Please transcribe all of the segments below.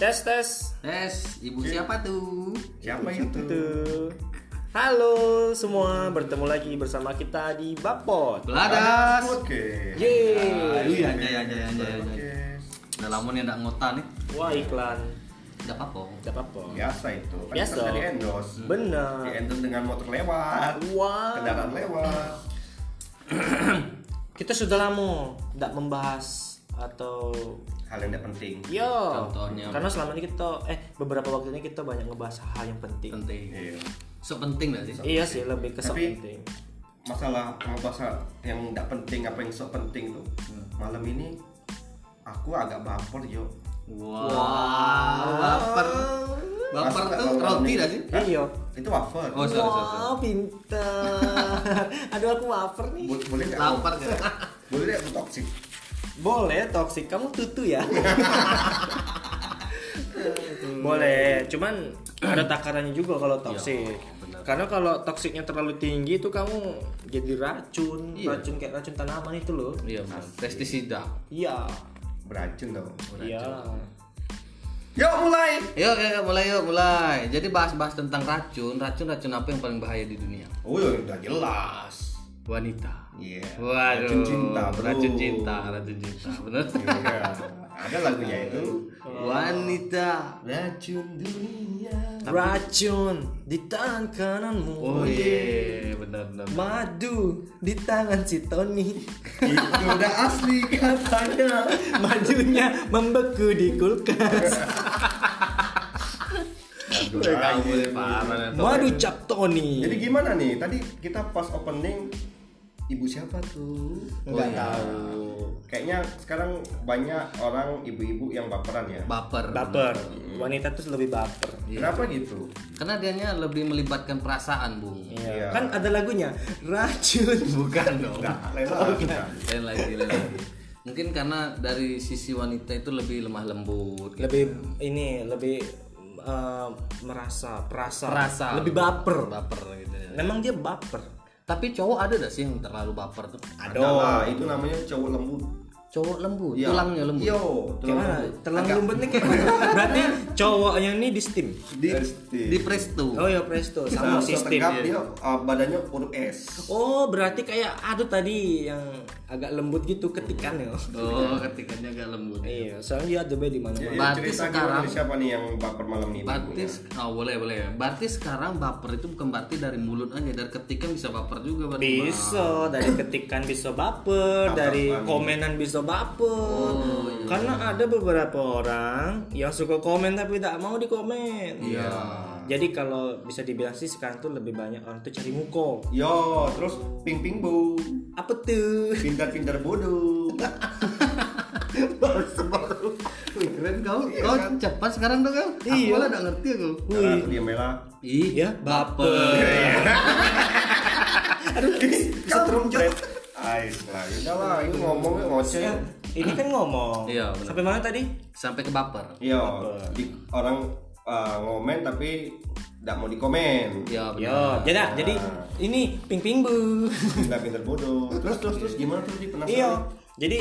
Tes tes. Tes, ibu siapa tuh? Siapa itu? Tuh. Halo semua, bertemu lagi bersama kita di Bapot. Beladas. Oke. Yeay. Aduh, ya, anjay, anjay, anjay, anjay. Oke. Udah lama nih ndak ngota nih. Wah iklan. Enggak apa-apa. Gak Ya. apa-apa. Biasa itu. Kan Biasa. kita Di endorse. Di Benar. endorse dengan motor lewat, Wah. kendaraan lewat. Kita sudah lama tidak membahas atau Hal yang tidak penting. yo. Contohnya. Karena selama ini kita eh beberapa waktu ini kita banyak ngebahas hal yang penting. Penting. Iya. Sepenting enggak sih? Iya sih, lebih ke sok Tapi- penting. Masalah bahasa yang tidak penting apa yang sok penting tuh. Malam ini aku agak baper yo. Wah, baper. Baper Masuk nggak tuh kalau malam roti ini? enggak sih? Hah? Iya. Itu wafer. Oh, sorry, sorry, sorry. Wah, pintar. Aduh aku wafer nih. Bo- boleh nggak? Lapar kan? Boleh nggak aku toksik? Boleh toksik, kamu tutu ya. Boleh, cuman ada takarannya juga kalau toksik. Ya, benar. Karena kalau toksiknya terlalu tinggi itu kamu jadi racun, Iya. racun kayak racun tanaman itu loh. Iya, benar. pestisida. Iya. Beracun dong. Iya. Yuk mulai. Yuk, yuk, yuk, mulai yuk, mulai. Jadi bahas-bahas tentang racun, racun-racun apa yang paling bahaya di dunia? Oh, ya udah jelas. Wanita. Iya. Waduh. Racun cinta, bro. Racun cinta, racun cinta. Benar. Iya. Ada lagunya itu. Wanita. Racun dunia. Racun di tangan kananmu. Oh iya, benar benar. Madu di tangan si Tony. Itu udah asli katanya. Madunya membeku di kulkas. Aduh, Kamu lagi. boleh parah. Madu cap Tony. Jadi gimana nih? Tadi kita pas opening ibu siapa tuh? Nggak iya. tahu. Kayaknya sekarang banyak orang ibu-ibu yang baperan ya. Baper. Baper. Wanita tuh lebih baper. Kenapa gitu? Karena dianya lebih melibatkan perasaan, Bung. Iya. Kan ada lagunya racun. Bukan dong. Nah, Lela. nah. Lain lagi, lain lagi. Mungkin karena dari sisi wanita itu lebih lemah lembut. gitu. Lebih ini lebih eh, merasa perasa. Perasa. Lebih baper. baper gitu ya. Memang dia baper. Tapi cowok ada gak sih yang terlalu baper tuh? Adalah, itu namanya cowok lembut. Cowok lembut, Iya. tulangnya ya, lembut. Yo, Iya. tulang Gimana? lembut. Telang lumbetnya kayak mana? Berarti cowoknya ini di steam. Di, Di presto. Oh ya presto sama sama sistem. tegap, dia uh, badannya huruf S. Oh berarti kayak aduh tadi yang agak lembut gitu ketikan ya. Oh, ketikannya agak lembut. Iya, soalnya dia ada di mana-mana. Jadi Berarti cerita sekarang- gimana nih, siapa nih yang baper malam ini? Berarti sek- oh, boleh boleh. Berarti sekarang baper itu bukan berarti dari mulut aja, dari ketikan bisa baper juga berarti. Bisa dari ketikan bisa baper, dari apaan? komenan bisa baper. Oh, iya, Karena ada beberapa orang yang suka komen tapi tidak mau dikomen. Iya. Jadi kalau bisa dibilang sih sekarang tuh lebih banyak orang tuh cari muko. Yo, terus ping ping bu, Apa tuh? pintar-pintar bodoh. Wih, keren kau. kau cepat sekarang dong kau. Iya. Aku malah nggak ngerti aku. Nah, aku diam Mela. Iya, baper. Aduh, setrum jret. Ais lah, udah lah, ini ngomongnya ngoceh. Ini kan ngomong. Iya, benar. Sampai mana tadi? Sampai ke baper. Yo, Iya, di, orang uh, ngomen tapi tidak mau dikomen. Ya. Iya, benar. Iya. Yo, jadi jadi ini ping ping bu. Pintar-pintar bodoh. Terus terus terus gimana tuh di penasaran? Iya. Jadi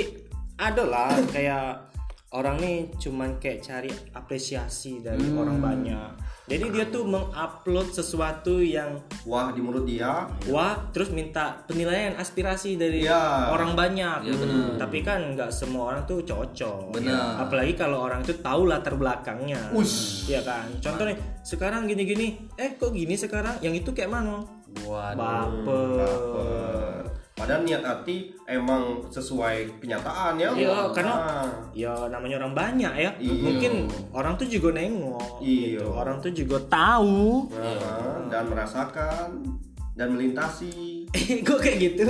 adalah kayak orang nih cuman kayak cari apresiasi dari orang banyak. Jadi dia tuh mengupload sesuatu yang Wah, di menurut dia wah terus minta penilaian aspirasi dari Iya. orang banyak. Tapi kan nggak semua orang tuh cocok. Benar. Apalagi kalau orang itu tahu latar belakangnya. Iya kan. Contoh nih sekarang gini-gini, eh kok gini sekarang? Yang itu kayak mana? Waduh. Baper. Eh. baper. Padahal niat hati emang sesuai kenyataan ya. Iya, karena Ah. ya namanya orang banyak ya. Mungkin orang tuh juga nengok. Iya. gitu. Orang tuh juga tahu. Nah, dan merasakan dan melintasi Eh, kok kayak gitu?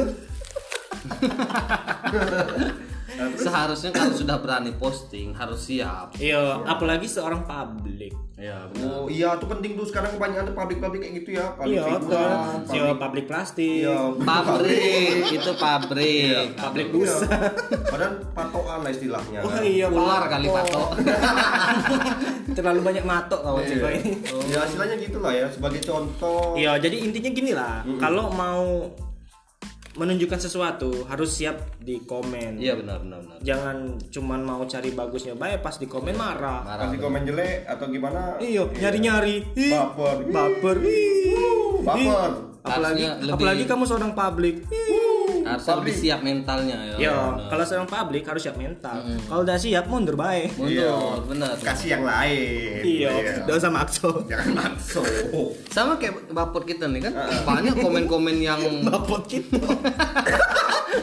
Seharusnya kalau sudah berani posting harus siap. Iya, apalagi seorang publik. Ya, Oh iya tuh penting tuh sekarang kebanyakan tuh pabrik-pabrik kayak gitu ya, pabrik Iya, figuran, kan? Iya, publik plastik. Iya, pabrik itu pabrik. Publik Aduh. bus. Padahal patokan lah istilahnya. Oh kan. iya, ular Pak. kali Oh. patok. Terlalu banyak matok kawan Iya. cewek ini. Ya istilahnya gitulah ya sebagai contoh. Iya, jadi intinya gini lah. Kalau mau menunjukkan sesuatu harus siap di komen. Iya benar benar benar. Jangan cuman mau cari bagusnya baik pas di komen marah. Marah. Kasih komen jelek atau gimana? Iya, nyari-nyari. Ih, Baper. Ih. Baper. Ih. Ih. Baper. Apalagi Harusnya lebih- apalagi kamu seorang Iya. publik. Ih. Harus Pabrik. lebih siap mentalnya ya. Iya, Yo, benar. kalau seorang publik harus siap mental. Kalau udah siap mundur baik. Iya. mundur benar. Kasih yang lain. Iya, udah usah maksa. Jangan makso. Sama kayak bapot kita nih kan banyak komen-komen yang Bapot kita.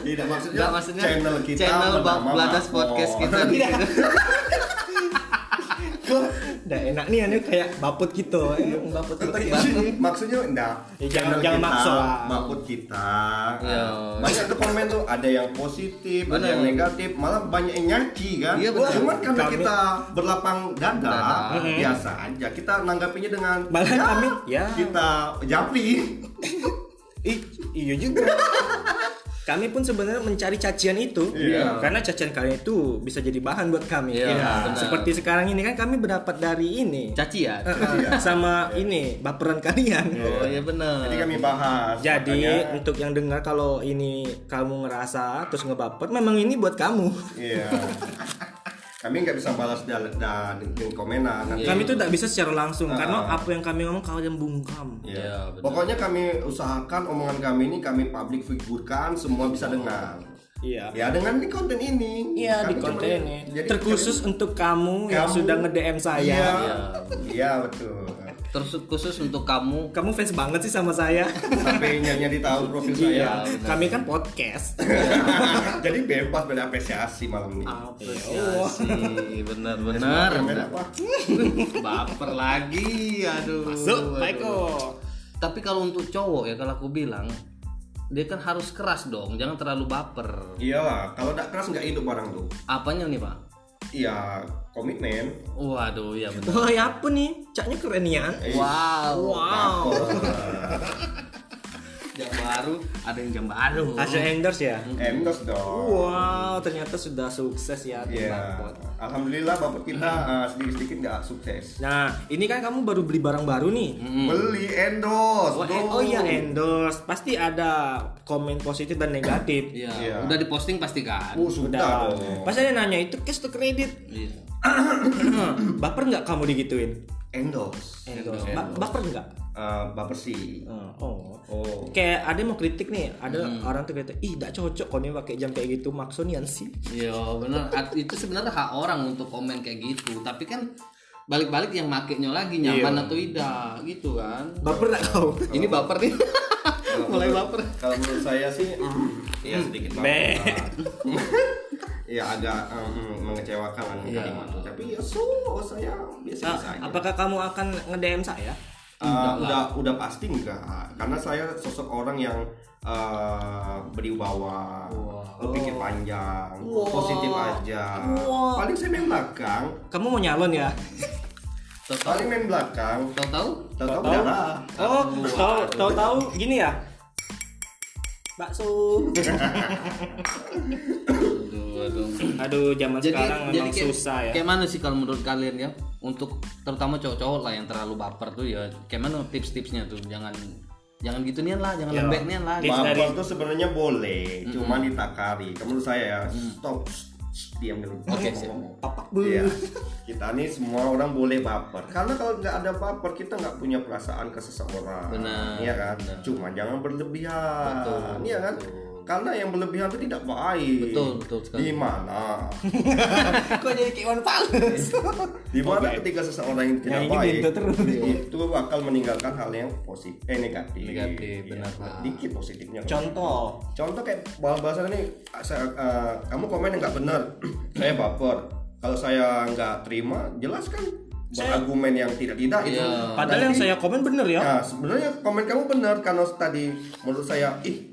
Tidak maksudnya, Nggak, maksudnya channel kita channel Ba- bernama Iya. Bladas Makmur. Podcast kita nih. Tidak. Udah enak nih aneh kayak bapot gitu. Eh, bapot kita. maksudnya enggak Iya. Ya, jangan- jangan maksa lah. makut kita Iya. banyak tuh komen tuh ada yang positif ada Bener. yang negatif malah banyak yang nyaci kan Iya, bener. cuman karena Kami- Mm-hmm. kita berlapang dada Dada. biasa aja kita nanggapinya dengan Malah kami ya. kita japri Ih, iya juga. Kami pun sebenarnya mencari cacian itu Iya. karena cacian kalian itu bisa jadi bahan buat kami. Iya, Iya. benar. Seperti sekarang ini kan kami berdapat dari ini caci ya. Eh, eh, sama ini baperan kalian. Oh iya benar. jadi kan- kami bahas Jadi Makanya, untuk yang dengar kalau ini kamu ngerasa terus ngebaper, memang ini buat kamu. iya kami nggak bisa balas dan dengan komenan Iya. nanti Kami tuh tidak bisa secara langsung Ah. karena apa yang kami ngomong kalian bungkam. Iya. Iya, benar. Pokoknya kami usahakan omongan kami ini kami public figurkan semua bisa dengar. Iya. Ya dengan di konten ini. Iya Kami di konten cuma- ini. jadi Terkhusus untuk kamu, yang Kamu. sudah nge-DM kami- saya. Iya. Iya betul. Terus khusus untuk kamu Kamu fans banget sih sama saya. Sampai nyari tahu profil saya. Iya, kami kan podcast. jadi bebas berapresiasi malam ini. Iya, apresiasi benar-benar. Komen apa? Baper lagi, aduh. Masuk, aduh. Michael. Tapi kalau untuk cowok ya kalau aku bilang dia kan harus keras dong, jangan terlalu baper. Iya lah, kalau tidak keras nggak hidup barang tuh. Apanya nih pak? Iya komitmen. Waduh, ya benar. Oh, ya apa nih? Caknya keren ya. Iya. Eh, Wow, Wow. jam baru, ada yang jam baru. Hasil endorse ya. Endorse dong. Wow, ternyata sudah sukses ya Iya. tentang podcast. Alhamdulillah bapak kita eh, sedikit-sedikit nggak sukses. Nah, ini kan kamu baru beli barang baru nih. beli Hmm. endorse Oh, dong. en- oh iya endorse. Pasti ada komen positif dan negatif. Iya, Iya. udah diposting pasti kan. oh, sudah Udah. dong Pasti ada yang nanya itu cash to kredit. Iya. baper nggak kamu digituin? endorse Endorse. Ba- baper nggak? Eh, baper sih Eh, Oh. oh Kayak ada yang mau kritik nih, ada orang tuh kritik, ih gak cocok kok nih pakai jam kayak gitu, maksudnya sih. Iya, benar. At- Itu sebenarnya hak orang untuk komen kayak gitu, tapi kan balik-balik yang makainya lagi nyaman atau tidak gitu kan. Baper gak kau? Iya. Ini baper nih. Mulai baper. kalau menurut saya sih mm, ya sedikit Be. baper ya agak mm, mm, mengecewakan kan kalimat itu. tapi ya so saya biasa Iya. Ah, biasa aja apakah kamu akan nge-DM saya? Eh, udah udah pasti enggak karena saya sosok orang yang eh, beribawa berpikir panjang positif aja paling saya main belakang Kamu mau nyalon ya? Tahu-tahu, paling main belakang tahu-tahu tahu darah Oh, tahu tahu tahu gini ya? Bakso. Aduh, aduh. Aduh, zaman Jadi, sekarang jadi memang kayak, susah ya. kayak mana sih kalau menurut kalian ya untuk terutama cowok-cowok lah yang terlalu baper tuh ya kayak mana tips-tipsnya tuh jangan jangan gitu nian lah jangan lembek nian lah Tips Baper dari- itu sebenarnya boleh, cuman ditakari. Kalau Menurut saya ya, stop, Shh, diam dulu. Oke, siap. Ngomong, ngomong. Papak bu. Iya. Kita nih semua orang boleh baper. Karena kalau nggak ada baper, kita nggak punya perasaan ke seseorang. Benar, Iya kan? benar. Cuma jangan berlebihan. Iya kan? Karena yang berlebihan itu tidak baik. Betul, betul sekali. Di mana? Kok jadi kayak one pals? Di Oh, mana ketika seseorang yang tidak Yang ini baik bentuk terus. itu bakal meninggalkan hal yang positif eh negatif. Negatif, Iya, benar, Pak. Dikit positifnya. Contoh. contoh kayak bahasa ini saya, eh, kamu komen yang nggak benar saya baper kalau saya nggak terima jelas kan berargumen yang gitu. Nah, tidak tidak itu Padahal yang saya komen bener ya. nah sebenarnya komen kamu benar karena tadi menurut saya ih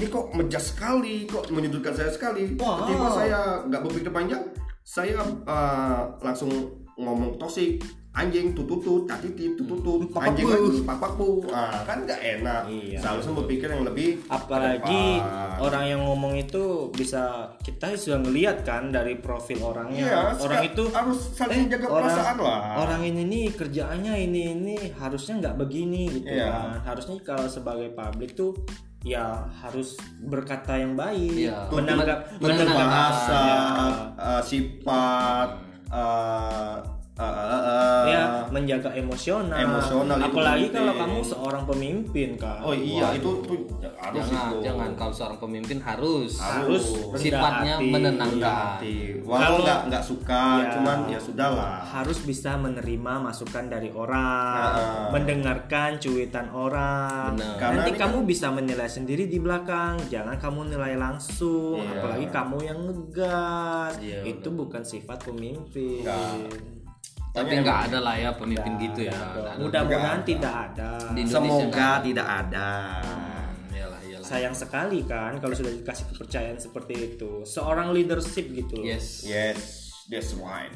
ini kok mejas sekali kok menyudutkan saya sekali ketika saya nggak berpikir panjang saya eh, langsung ngomong tosik anjing tututut tatiti tututut anjing lagi papaku ah, kan nggak enak Iya. seharusnya berpikir yang lebih eh, apalagi ke depan. orang yang ngomong itu bisa kita sudah ngelihat kan dari profil orangnya Iya, orang suka- Ah. itu harus saling eh, jaga orang- perasaan lah. orang ini nih kerjaannya ini ini harusnya nggak begini gitu Iya. kan harusnya kalau sebagai publik tuh ya harus berkata yang baik Iya. menanggap Benar, benar. bentuk menanggap bahasa, eh, sifat, eh, eh, eh, eh, ya menjaga emosional Emosional itu apalagi penting. kalau kamu seorang pemimpin kan Oh iya itu tuh harus jangan itu. jangan kalau seorang pemimpin harus harus Oh. rendah sifatnya hati. Rendah menenangkan hati. Walau Kalau- nggak nggak suka, Iya. cuman ya sudahlah. harus bisa menerima masukan dari orang, Nah. mendengarkan cuitan orang. Benar. Karena Nanti ini kan- kamu bisa menilai sendiri di belakang, jangan kamu nilai langsung, Iya. apalagi kamu yang ngegas. Iya, Itu bukan sifat pemimpin. Gitu. Enggak. tapi Tanya nggak ada lah ya pemimpin Enggak, gitu ya enggak dong. Nggak ada. Mudah-mudahan tidak ada. Di Indonesia Semoga nggak ada. tidak ada. Hmm, iyalah iyalah Sayang sekali kan kalau sudah dikasih kepercayaan seperti itu. Seorang leadership gitu. loh. yes Yes, that's right.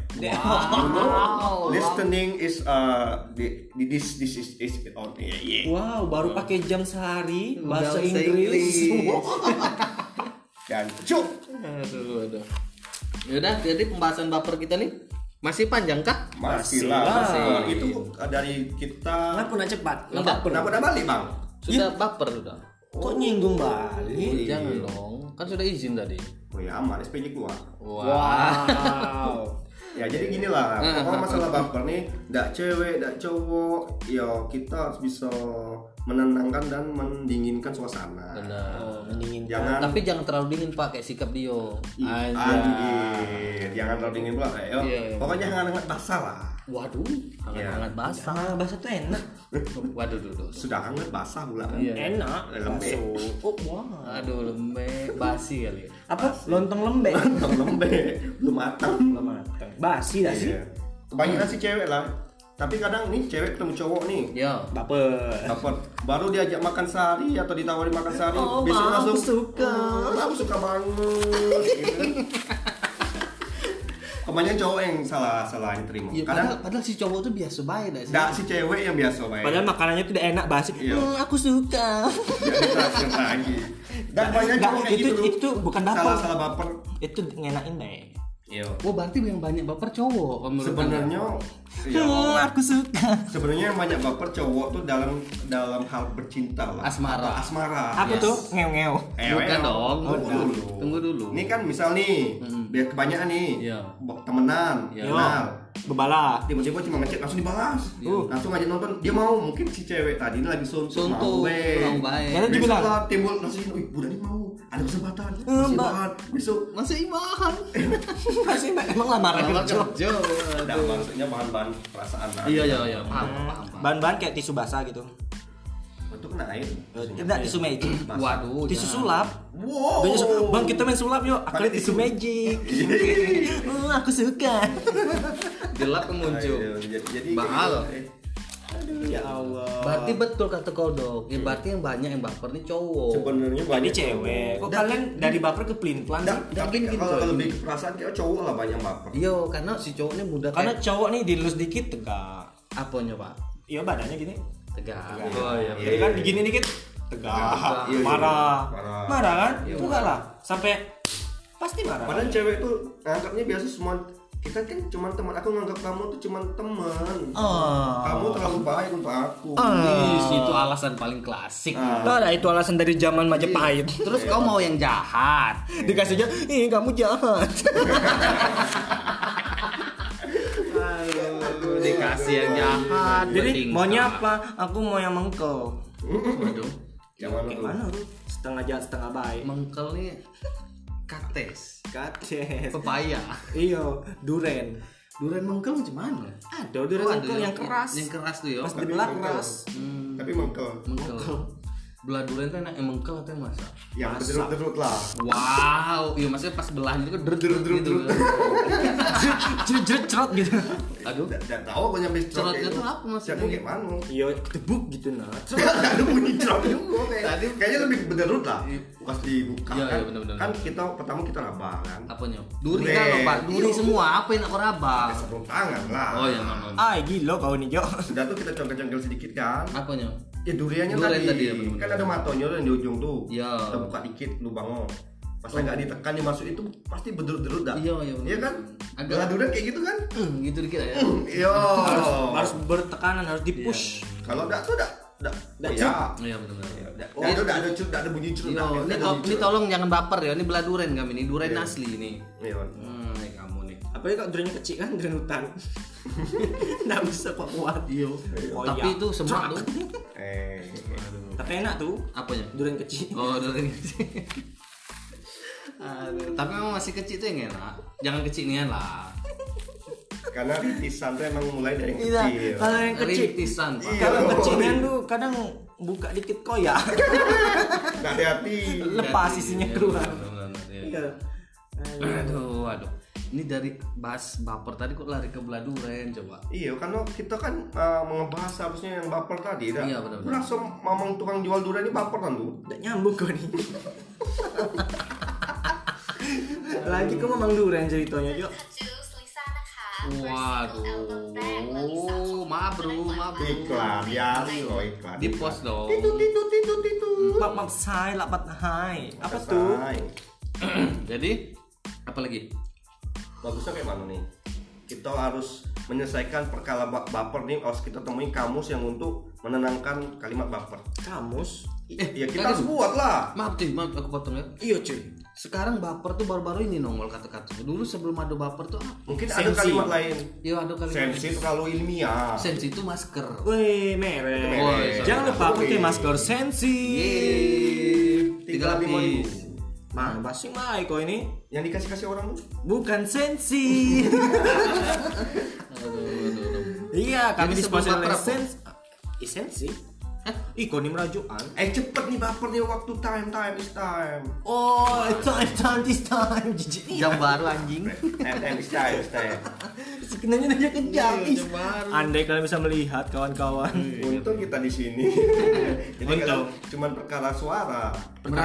wow Listening is uh the, the- this this is is on yeah, yeah. Wow, baru pakai jam sehari bahasa Bahasa Inggris. Inggris. Dan cuk. aduh aduh yaudah jadi pembahasan baper kita nih masih panjang kah Masih Masih lah. lah. Nah, Nah, Itu uh, dari kita. Kenapa nak cepat? Enggak. Kenapa? Kenapa udah balik bang? sudah baper sudah Kok nyinggung balik? jangan dong kan sudah izin tadi Oh ya aman, SPJ keluar. wah Wow. Ya jadi gini lah, Heeh. pokoknya masalah baper nih, dak cewek, dak cowok, ya kita harus bisa menenangkan dan mendinginkan suasana. benar oh, mendingin. Jangan tapi jangan terlalu dingin pak kayak sikap Dio anjir, jangan terlalu dingin pula kayak. yo. Iya, iya. Pokoknya jangan hangat basah lah. waduh hangat-hangat Iya. basah Ah, bahasa tuh enak. waduh duh, duh. Sudah hangat basah pula. kan. Enak. Lembek. Masuk. Oh, wah. aduh lembek basi kali ya Apa? Lontong lembek. Belum lembek, belum matang. Belum matang. Basi dah sih. Iya. Kebanyakan sih cewek lah. Tapi kadang nih cewek ketemu cowok nih, Yo, Baper. Dapat. Baru diajak makan sehari atau ditawari makan sehari, Oh, besok Mam, langsung aku suka. "Hmm, aku suka banget. gitu. Kebanyakan cowok yang salah salah yang terima. Iya, Ya, Kadang padahal, padahal si cowok tuh biasa baik dah sih. enggak si cewek yang biasa baik. Padahal makanannya tuh udah enak basi. Iya. Hmm, aku suka. Jadi teraskan lagi. Dan banyak Nggak, cowok kayak itu- gitu. tuh. itu bukan baper. Salah salah baper. Itu ngenakin deh. Iya. Oh berarti yang banyak baper cowok kalau menurut Anda? Sebenarnya ya, Hmm, aku suka. sebenarnya yang banyak baper cowok tuh dalam dalam hal bercinta lah. Asmara. Atau asmara. Apa Yes. tuh? Ngeo-ngeo. Eh, Bukan eh, dong, tunggu bukan. dulu. Tunggu dulu. Ini kan misal nih, biar kebanyakan nih, Iya. bok- temenan, Iya. kenal. Nah, Bebala. Tiba-tiba cuma ngecek langsung dibalas. Iya. Uh, Langsung ngajak nonton, dia mau mungkin si cewek tadi ini lagi suntuk, mau Suntuk, kurang baik. Karena dia Besok bilang, lah timbul langsung, wih budak ini mau, ada kesempatan, Eh, masih Mbak. banget. Besok, Masih imahan. masih Mbak, emang gitu? lamaran kerja. kerja. ada maksudnya bahan-bahan perasaan lah. Iya iya iya, paham Hmm. paham. paham. Bahan-bahan kayak tisu basah gitu. Oh, Eh, Itu kena air. Enggak tisu magic. Oh, ya. Waduh. Tisu jangan. sulap. Wow. Banyak suka, bang kita main sulap yuk, aku Pakai lihat tisu tisu. magic Hmm, Aku suka Gelap yang muncul. Ayo, jadi, jadi Mahal. kayak- gitu. Aduh, ya Allah. Berarti betul kata kodok. Ya berarti yang banyak yang baper nih cowok. Iya. Sebenarnya Tadi banyak cewek, kok cowok. kalian dari baper ke pelin pelan Nggak, sih? tapi Mungkin gitu, ya. kalau coy. lebih ke perasaan kayak cowok lah banyak baper. Iya, karena si cowok ini mudah Karena kayak cowok nih dilus dikit tegak apanya, Pak? Iya badannya gini Tegak. Oh iya. Jadi kan digini dikit tegak, Iya, iya. marah Marah. Marah kan? Enggak lah, sampai pasti marah Padahal cewek tuh nganggapnya biasa semua kita kan cuman teman aku nganggap kamu tuh cuman teman. Oh. Kamu terlalu baik untuk aku. Ih, itu alasan paling klasik. Nah, itu alasan dari zaman Majapahit Terus kau mau yang jahat. Dikasihnya, ih kamu jahat Dikasih yang jahat. Jadi bertingkah. maunya apa? Aku mau yang mengkel Waduh. Jangan Kayak mana tuh? Setengah jahat setengah baik Mengkel nih kates, Kates pepaya. Iyo, duren. Durian mengkel macam mana? Ada duren Waduh, mengkel yang keras. gitu. Yang keras tuh ya. Hmm. Pas dibelah keras. Tapi mengkel. Mengkel. belah durian tuh enak yang mengkel atau yang masak yang Masak. berderut-derut lah wow iya maksudnya pas belahan itu kan derut Derut, derut derut, gitu derut. jerit jerit cerot gitu aduh tidak tahu aku nyampe Cerotnya kayak tuh gitu. apa maksudnya? Cerotnya kayak mana iya debuk gitu nah ada bunyi cerot juga kayak tadi kayaknya lebih berderut lah pas dibuka Iya, kan iya, bener-bener. kan kita pertama kita raba kan apanya duri Durian. kan loh pak duri semua apa yang aku raba Pakai sarung tangan lah oh iya maaf maaf. ah gila kau nih jo sudah tuh kita congkel-congkel sedikit kan apanya ya duriannya Durian tadi, tadi ya, bener-bener. kan ada matonya tuh yang di ujung tuh Iya. Oh. kita buka dikit lubangnya pas agak ditekan dimasukin itu pasti berderut-derut dah Iya, iya, bener. iya kan Agak- agak durian kayak gitu kan Eh, gitu dikit ya iya Oh. harus bertekanan harus dipush kalau enggak tuh enggak enggak Nggak ya iya benar Nggak- nggak ada- nggak ada cerut enggak ada bunyi cerut Yo, nggak iya. ada ini, bunyi to- ini cerut. tolong jangan baper ya, ini belah durian kami ini, durian asli ini. Iya, Wan. Hmm, ini kamu nih. apalagi kalau duriannya kecil kan durian hutan nggak bisa kok kuat Iya. Oh, Tapi iya. itu semak tuh. eh tapi enak tuh Apanya? durian kecil Oh, durian kecil. Aduh, Tapi memang masih kecil tuh yang enak. Jangan kecil nian lah. karena ritisan tuh emang mulai dari kecil Iya. Iya, kalau yang kecil Rintisan, Pak. Iya. kalau kecilan tuh kadang buka dikit koyak nggak hati-hati lepas isinya Iya, keluar benar, benar, iya. Iya. Aduh, aduh. Ini dari bahas baper tadi kok lari ke belah durian coba. Iya, karena kita kan uh, mengebahas harusnya yang baper tadi, dah. Iya, benar-benar. Lu Langsung mamang tukang jual durian ini baper kan tuh. Nggak nyambung kok nih. Lagi kok memang durian ceritanya, Jok. Waduh, maaf bro, maaf bro. Iklan, ya, lo iklan. Di post dong. Titu, titu, titu, titu. Bab bab sai lapat hai. Apa tuh? Selesai. Jadi, apa lagi? Bagusnya kayak mana nih? Kita harus menyelesaikan perkara ba- baper nih harus kita temui kamus yang untuk menenangkan kalimat baper. Kamus. Iya, kita tadi harus buat lah. Maaf cuy, maaf aku potong ya. Iya, cuy. Sekarang baper tuh baru-baru ini nongol kata-kata. Dulu sebelum ada baper tuh apa? Mungkin ada Sensi. kalimat lain. Ya ada kali. Sensi terlalu ilmiah. Sensi itu masker. Weh, Merek. merek. Oh, iya. Jangan lupa pakai Weh. masker sensi. Yeay, Tiga tiga lapis. lapis. Mah, basing mai kok ini. Yang dikasih-kasih orang tuh. Bukan sensi. Aduh, aduh, aduh. iya, kami Jadi sebelum disponsori oleh baper apa? sensi. Esensi. Ih, kok ini merajukan? Eh cepet nih baper nih waktu time time is time. Oh, it's time, it's time, it's time. Jijik nih. Jam baru anjing. Time Eh, time is time is time. Sekenanya aja kejam. Iya, Ih, jam baru. Andai kalian bisa melihat kawan-kawan. Untung kita di sini. Jadi kalau cuman perkara suara.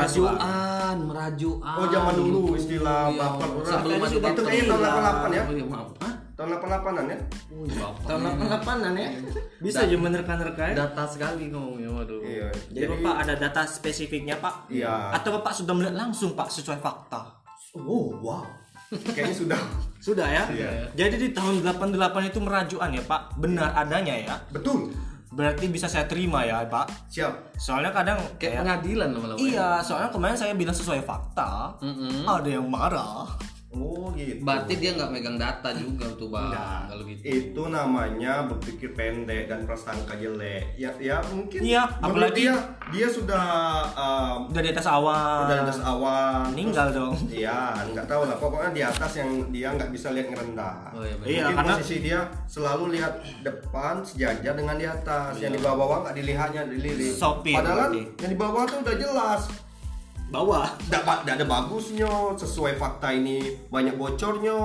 Merajuan, merajuan. Iya, Oh zaman dulu istilah baper orang. Sebelum ada itu baper. kayaknya tahun 88 ya. Oh, iya, maaf. Hah? Tahun 88-an ya. Oh, iya, baper. Tahun 88-an ya. Bisa aja menerka-nerka ya. Data sekali ngomongnya, waduh. Iya. Gitu. Jadi Bapak ada data spesifiknya Pak? Iya. Atau Bapak sudah melihat langsung Pak sesuai fakta? Oh wow. Kayaknya sudah Sudah ya? Iya. Jadi di tahun 88 itu merajuan ya Pak? Benar adanya ya? betul. Berarti bisa saya terima ya Pak? Siap. Soalnya kadang Kayak kayak- pengadilan lama-lama. Iya, soalnya kemarin saya bilang sesuai fakta, ada yang marah. Oh gitu. Berarti dia nggak megang data juga tuh bang. Kalau gitu. itu namanya berpikir pendek dan prasangka jelek. Ya, ya mungkin. Iya, menurut apalagi- Ah, dia dia sudah um, Udah di atas awal, udah atas awan. meninggal dong. Iya, nggak tahu lah. Pokoknya di atas yang dia nggak bisa lihat ngerendah. Oh iya benar. Iya, Mungkin karena- posisi dia selalu lihat depan sejajar dengan di atas. Yang di bawah-bawah nggak dilihatnya Iya. dililit. Sopir Padahal berarti. yang di bawah tuh udah jelas. Bawah Nggak ba- nggak ada bagusnya. Sesuai fakta ini banyak bocornya.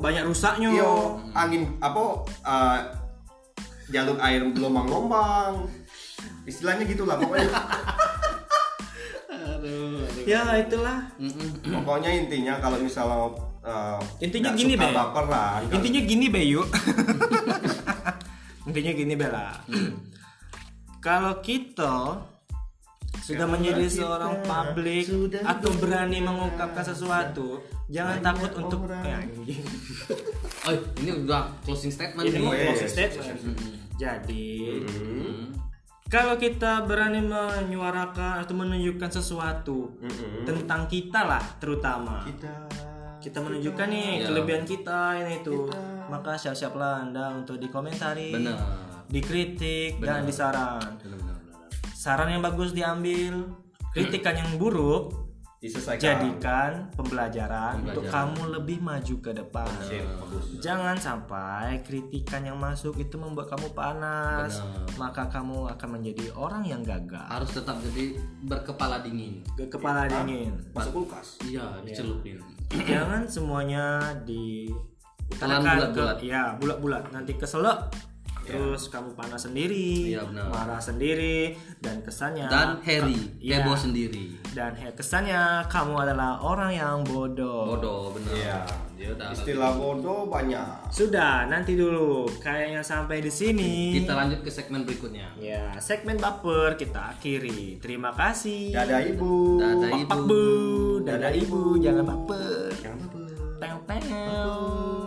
banyak rusaknya. Yo, angin apa? eh, jalur air gelombang-gelombang. Istilahnya gitulah pokoknya. Aduh, aduh. Ya itulah. Mm-mm. pokoknya intinya kalau misalnya eh, Intinya nggak gini, suka Be. baper lah. nggak Intinya gini Bayu. Intinya gini Bella. Kalau kita sudah menjadi seorang publik atau berani mengungkapkan sesuatu, jangan takut untuk ya, anjing. Oh, ini udah closing statement ini nih. mau Yes. closing statement. Jadi kalau kita berani menyuarakan atau menunjukkan sesuatu Mm-mm. tentang kita lah terutama kita kita menunjukkan nih Iya. kelebihan kita ini itu maka siap-siaplah anda untuk dikomentari Benar. dikritik dan disaran Benar, benar, benar. saran yang bagus diambil kritikan yang buruk diselesaikan jadikan pembelajaran, untuk Pembelajaran. kamu lebih maju ke depan. Sip, bagus. Jangan sampai kritikan yang masuk itu membuat kamu panas, Benar. maka kamu akan menjadi orang yang gagal. harus tetap jadi berkepala dingin Ke kepala dingin. masuk kulkas iya dicelupin Jangan semuanya di Telan tekan bulat-bulat. ke ya bulat-bulat nanti keselak terus kamu panas sendiri, Iya, benar. marah sendiri dan kesannya dan Harry Iya. heboh sendiri dan he- kesannya kamu adalah orang yang bodoh. bodoh bener Iya, Ya udah, istilah bodoh banyak Sudah, nanti dulu. Kayaknya sampai di sini. kita lanjut ke segmen berikutnya Ya, segmen baper kita akhiri. Terima kasih. dada ibu Dadah Pak ibu Bu, dada ibu, jangan baper. Jangan apa-apa. Teng teng.